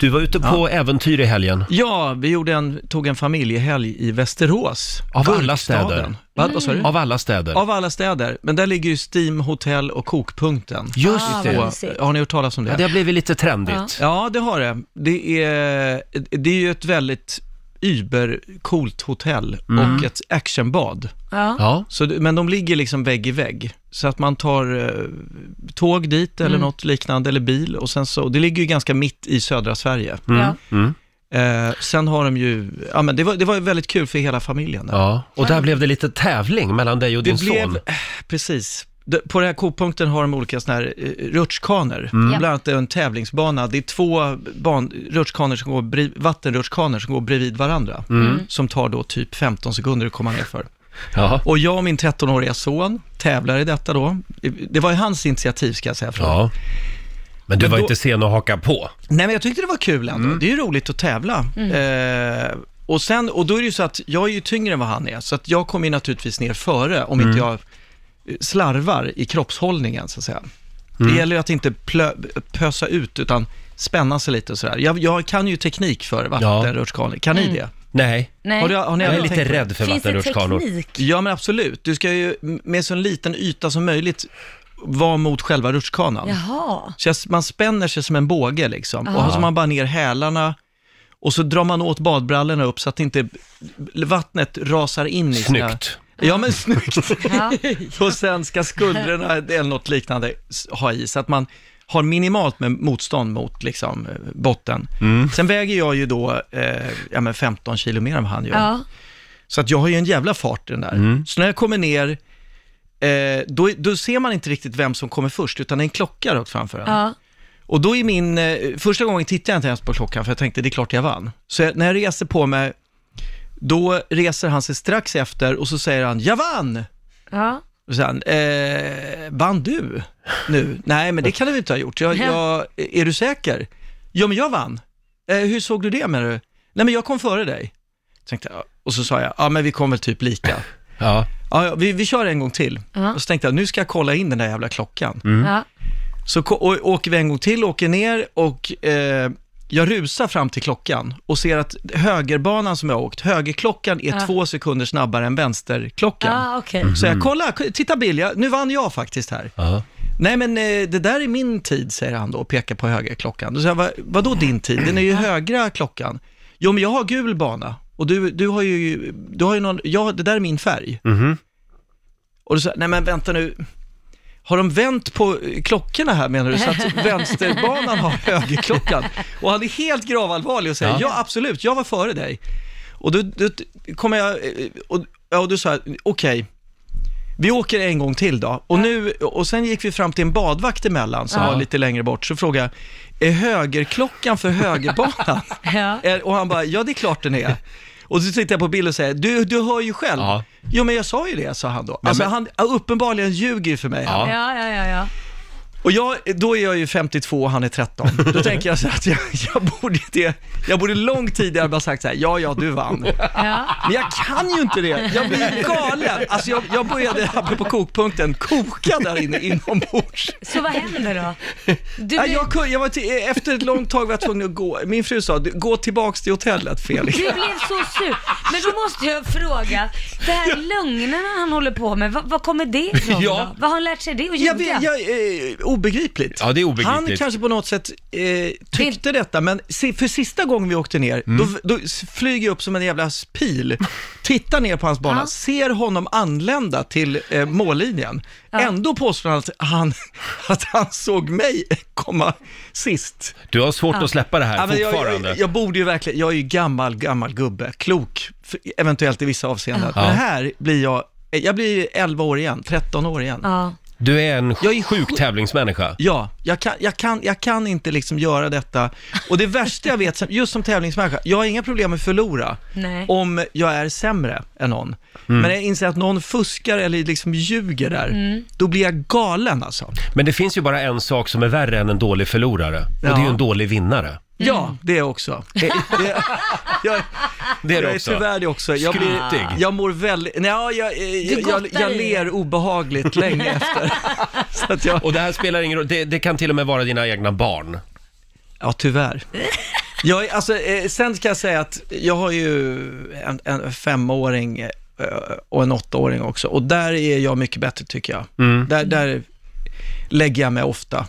Du var ute på äventyr i helgen. Ja, vi gjorde en, tog en familjehelg i Västerås. Av alla Verkstaden. städer. Va, Mm. vad sa du? Av, Av alla städer. alla städer. Men där ligger ju Steam, Hotell och Kokpunkten. Just Ah, vad det. mysigt. Och, har ni hört talas om det? Ja, det har blivit lite trendigt. Ja. Ja, det har det. Det är, det är ju ett väldigt übercoolt hotell Mm. och ett actionbad. Ja. Ja. Så, det- men de ligger liksom vägg i vägg. Så att man tar eh, tåg dit Mm. eller något liknande, eller bil. Och sen så, det ligger ju ganska mitt i södra Sverige. Mm. ja. Eh, sen har de ju, ja men det var, det var väldigt kul för hela familjen. där. Ja, och där blev det lite tävling mellan dig och din det blev, son. eh, precis. D- På den här kopunkten har de olika sådana här eh, rutschkanor. Ja. Mm. Bland annat en tävlingsbana. Det är två ban, rutschkanor som går, bri- vattenrutschkanor som går bredvid varandra. Mm. Som tar då typ 15 sekunder att komma ner för. Ja. Och jag och min 13-åriga son tävlar i detta då. Det var ju hans initiativ ska jag säga. Från. ja. Men du Men var då- inte sen att haka på. Nej men jag tyckte det var kul ändå. Mm. Det är ju roligt att tävla. Eh, och, sen, och då är det ju så att jag är ju tyngre än vad han är, så att jag kommer ju naturligtvis ner före om Mm. inte jag eh, slarvar i kroppshållningen så att säga. Mm. Det gäller ju att inte plö, pösa ut utan spänna sig lite och sådär. Jag, jag kan ju teknik för vattenrutschkanor, kan ni det? Nej, Nej. Har du- har ni jag är aldrig lite tänkt på det? rädd för Finns det vattenrutschkanor. teknik? Ja men absolut, du ska ju med så liten yta som möjligt vara mot själva rutschkanan. Jaha. Så jag, man spänner sig som en båge liksom. Och så har man bara ner hälarna och så drar man åt badbrallorna upp så att inte vattnet rasar in i sina- Snyggt. Ja men snyggt. Ja. och sen ska skuldrorna eller något liknande s- ha i så att man har minimalt med motstånd mot liksom, eh, botten. Sen väger jag ju då eh, ja, men 15 kilo mer än vad han gör. Ja. Så att jag har ju en jävla fart i den där. Så när jag kommer ner, eh, då, då ser man inte riktigt vem som kommer först, utan det är en klocka rakt framför en. Ja. Och då är min, eh, första gången tittade jag inte ens på klockan för jag tänkte det är klart jag vann. Så jag, när jag reser på mig, då reser han sig strax efter och så säger han ”Jag vann!” Ja. Och så säger han, eh, vann du nu? Nej, men det kan du inte ha gjort. Jag, jag, är du säker? Ja, men jag vann. Eh, hur såg du det menar du? Nej, men jag kom före dig. Tänkte, jag. och så sa jag, ja men vi kom väl typ lika. Ja. Ja, ja, vi, vi kör en gång till. Ja. Och så tänkte jag, nu ska jag kolla in den där jävla klockan. ja. Så ko- och, åker vi en gång till, åker ner och eh, jag rusar fram till klockan och ser att högerbanan som jag har åkt, högerklockan är Ja. Ah. två sekunder snabbare än vänsterklockan. Ja, okej. Så jag, kolla, k- titta Bill, jag, nu vann jag faktiskt här. Ja. Nej men eh, det där är min tid, säger han då och pekar på högerklockan. Då säger jag, "Va- vadå din tid? Den är ju högra klockan. Jo men jag har gul bana och du, du har ju, du har ju någon, ja det där är min färg. Och då säger jag, nej men vänta nu, har de vänt på eh, klockorna här menar du? Så att vänsterbanan har högerklockan? Och han är helt gravallvarlig och säger, Ja. ja, absolut, jag var före dig. Och då, då kommer jag, eh, och, ja, och du sa, jag, okej, vi åker en gång till då. Och, nu, och sen gick vi fram till en badvakt emellan som Ja. var lite längre bort. Så frågade jag, är högerklockan för högerbanan? Ja. Eh, Och han bara, ja det är klart den är. Och så tittar jag på Bill och säger, du, du hör ju själv. Ja. Jo men jag sa ju det, sa han då. Alltså men- han ja, uppenbarligen ljuger för mig. Ja. Ja, ja, ja, ja. Och jag, då är jag ju 52 och han är 13. Då tänker jag så här att jag, jag, borde, det, jag borde lång tid där bara sagt så här, ja ja du vann. ja. Men jag kan ju inte det. Jag blir galen. Alltså jag, jag började, apropå kokpunkten, koka där inne inombords. Så vad händer då? Du, Nej, blir- Jag, kunde- jag var till, efter ett långt tag var jag tvungen att gå. Min fru sa, "Du, gå tillbaks till hotellet Felix. du blev så sur. Men då måste jag fråga, det här lögnerna han håller på med, vad, vad kommer det ifrån Ja. då? Vad har han lärt sig det och Jag ljuga? vet, jag, eh, obegripligt. Ja, det är obegripligt. Han kanske på något sätt eh, tyckte detta, men si- för sista gången vi åkte ner, Mm. då, då s- flyger jag upp som en jävla pil, tittar ner på hans bana, Ja. ser honom anlända till eh, mållinjen. Ändå påstår han att han, att han såg mig komma sist. Du har svårt att släppa det här Ja, men jag, fortfarande. jag, jag borde ju verkligen, jag är ju gammal, gammal gubbe, klok, f- eventuellt i vissa avseenden. Ja. Men här blir jag, jag blir 11 år igen, 13 år igen. Ja. Du är en Jag är sjuk tävlingsmänniska. Ja, jag kan, jag, kan, jag kan inte liksom göra detta. Och det värsta jag vet, som- just som tävlingsmänniska, jag har inga problem med att förlora Nej. om jag är sämre än någon. Mm. Men jag inser att någon fuskar eller liksom ljuger där, Mm. då blir jag galen alltså. Men det finns ju bara en sak som är värre än en dålig förlorare. Och det är ju Ja. en dålig vinnare. Mm. Ja, det är jag också. Det, jag, Det är jag du är också. tyvärr det också. Jag, blir, Skrytig. jag mår väldigt... Nej, ja, jag, jag, jag, gottar jag dig. ler obehagligt länge efter. Så att jag, Och det här spelar ingen roll, det, det kan till och med vara dina egna barn. ja, tyvärr. Jag, är- alltså, eh, sen ska jag säga att jag har ju en, en femåring eh, och en åttaåring också. Och där är jag mycket bättre tycker jag. Mm. Där, där lägger jag mig ofta.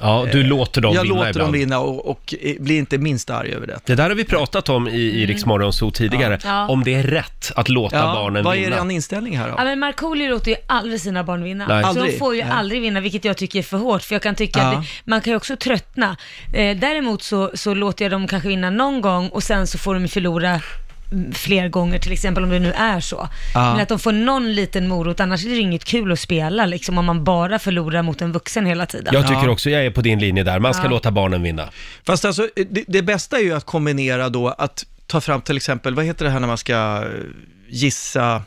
Ja, du låter dem Eh, jag vinna låter ibland. dem vinna och, och eh, blir inte minst arg över det. Det där har vi pratat om i, i Rix Morgonzoo tidigare, Mm. Ja. om det är rätt att låta barnen vad är vinna. er inställning här då? Ja men Markoolio låter ju aldrig sina barn vinna. Nej. Så de Aldrig. får ju Nej. aldrig vinna, vilket jag tycker är för hårt, för jag kan tycka Ja. att det, man kan ju också tröttna. Eh, däremot så, så låter jag dem kanske vinna någon gång och sen så får de ju förlora mm, fler gånger, till exempel om det nu är så. Ja. Men att de får någon liten morot, annars är det ju inget kul att spela liksom, om man bara förlorar mot en vuxen hela tiden. Jag tycker också jag är på din linje där, man ska Ja. låta barnen vinna. Fast alltså, det, det bästa är ju att kombinera då att ta fram till exempel, vad heter det här när man ska eh, gissa,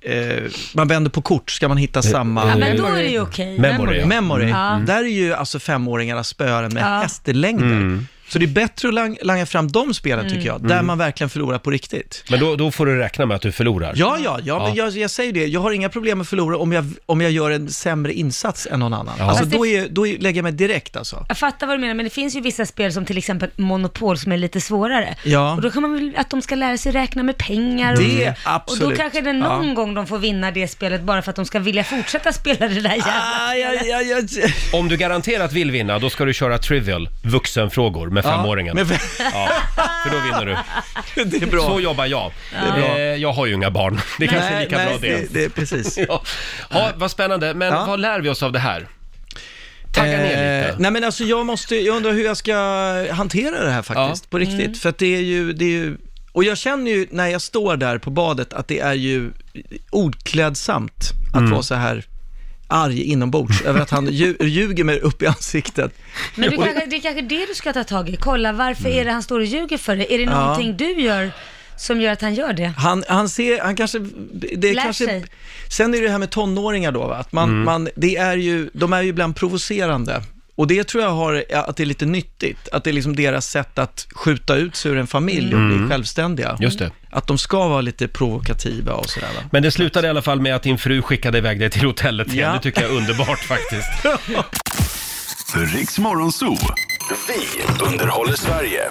eh, man vänder på kort, ska man Eh, hitta samma... Ja, men då är det ju okej. Memory. ja. Memory. Mm. Där är ju alltså femåringarna spöaren med Ja. hästlängder. Så det är bättre att lang- langa fram de spelen Mm. tycker jag, där man verkligen förlorar på riktigt. Men då, då får du räkna med att du förlorar. Ja, ja, ja, men jag, jag säger det. Jag har inga problem med att förlora om jag, om jag gör en sämre insats än någon annan. Alltså, Fast det- Mm. då, är, då är, lägger jag mig direkt alltså. Jag fattar vad du menar, men det finns ju vissa spel som till exempel Monopol som är lite svårare. Ja. Och då kan man väl att de ska lära sig räkna med pengar. Det är och, absolut. Och då kanske det någon gång de får vinna det spelet bara för att de ska vilja fortsätta spela det där jävla Ah, ja, spelet. ja, ja, ja. Om du garanterat vill vinna, då ska du köra Trivial, vuxenfrågor, med femåringen. Men, Ja, för då vinner du. det är bra. Så jobbar jag. Eh, jag har ju inga barn, det kanske är lika bra det. det är precis. Ja. Ja, vad spännande, men Ja. vad lär vi oss av det här? Tagga ner Eh, lite. nej men alltså jag måste, jag undrar hur jag ska hantera det här faktiskt, Ja. Mm. på riktigt. För att det är ju, det är ju, och jag känner ju när jag står där på badet att det är ju oklädsamt att Mm. vara så här arg inombords över att han lju- ljuger mig upp i ansiktet. Men du kanske, det är kanske det du ska ta tag i. Kolla, varför Mm. är det han står och ljuger för dig? Är det någonting du gör som gör att han gör det? Han, han ser, han kanske, det är Lär kanske, sig. sen är det det här med tonåringar då, va? att man, Mm. man, det är ju, de är ju ibland provocerande. Och det tror jag har, att det är lite nyttigt, att det är liksom deras sätt att skjuta ut sig ur en familj och bli självständiga. Mm. Just det. Att de ska vara lite provokativa och sådär. Va? Men det slutade i alla fall med att din fru skickade iväg dig till hotellet igen. Ja. Det tycker jag är underbart faktiskt. Riks Morgonzoo. Vi underhåller Sverige.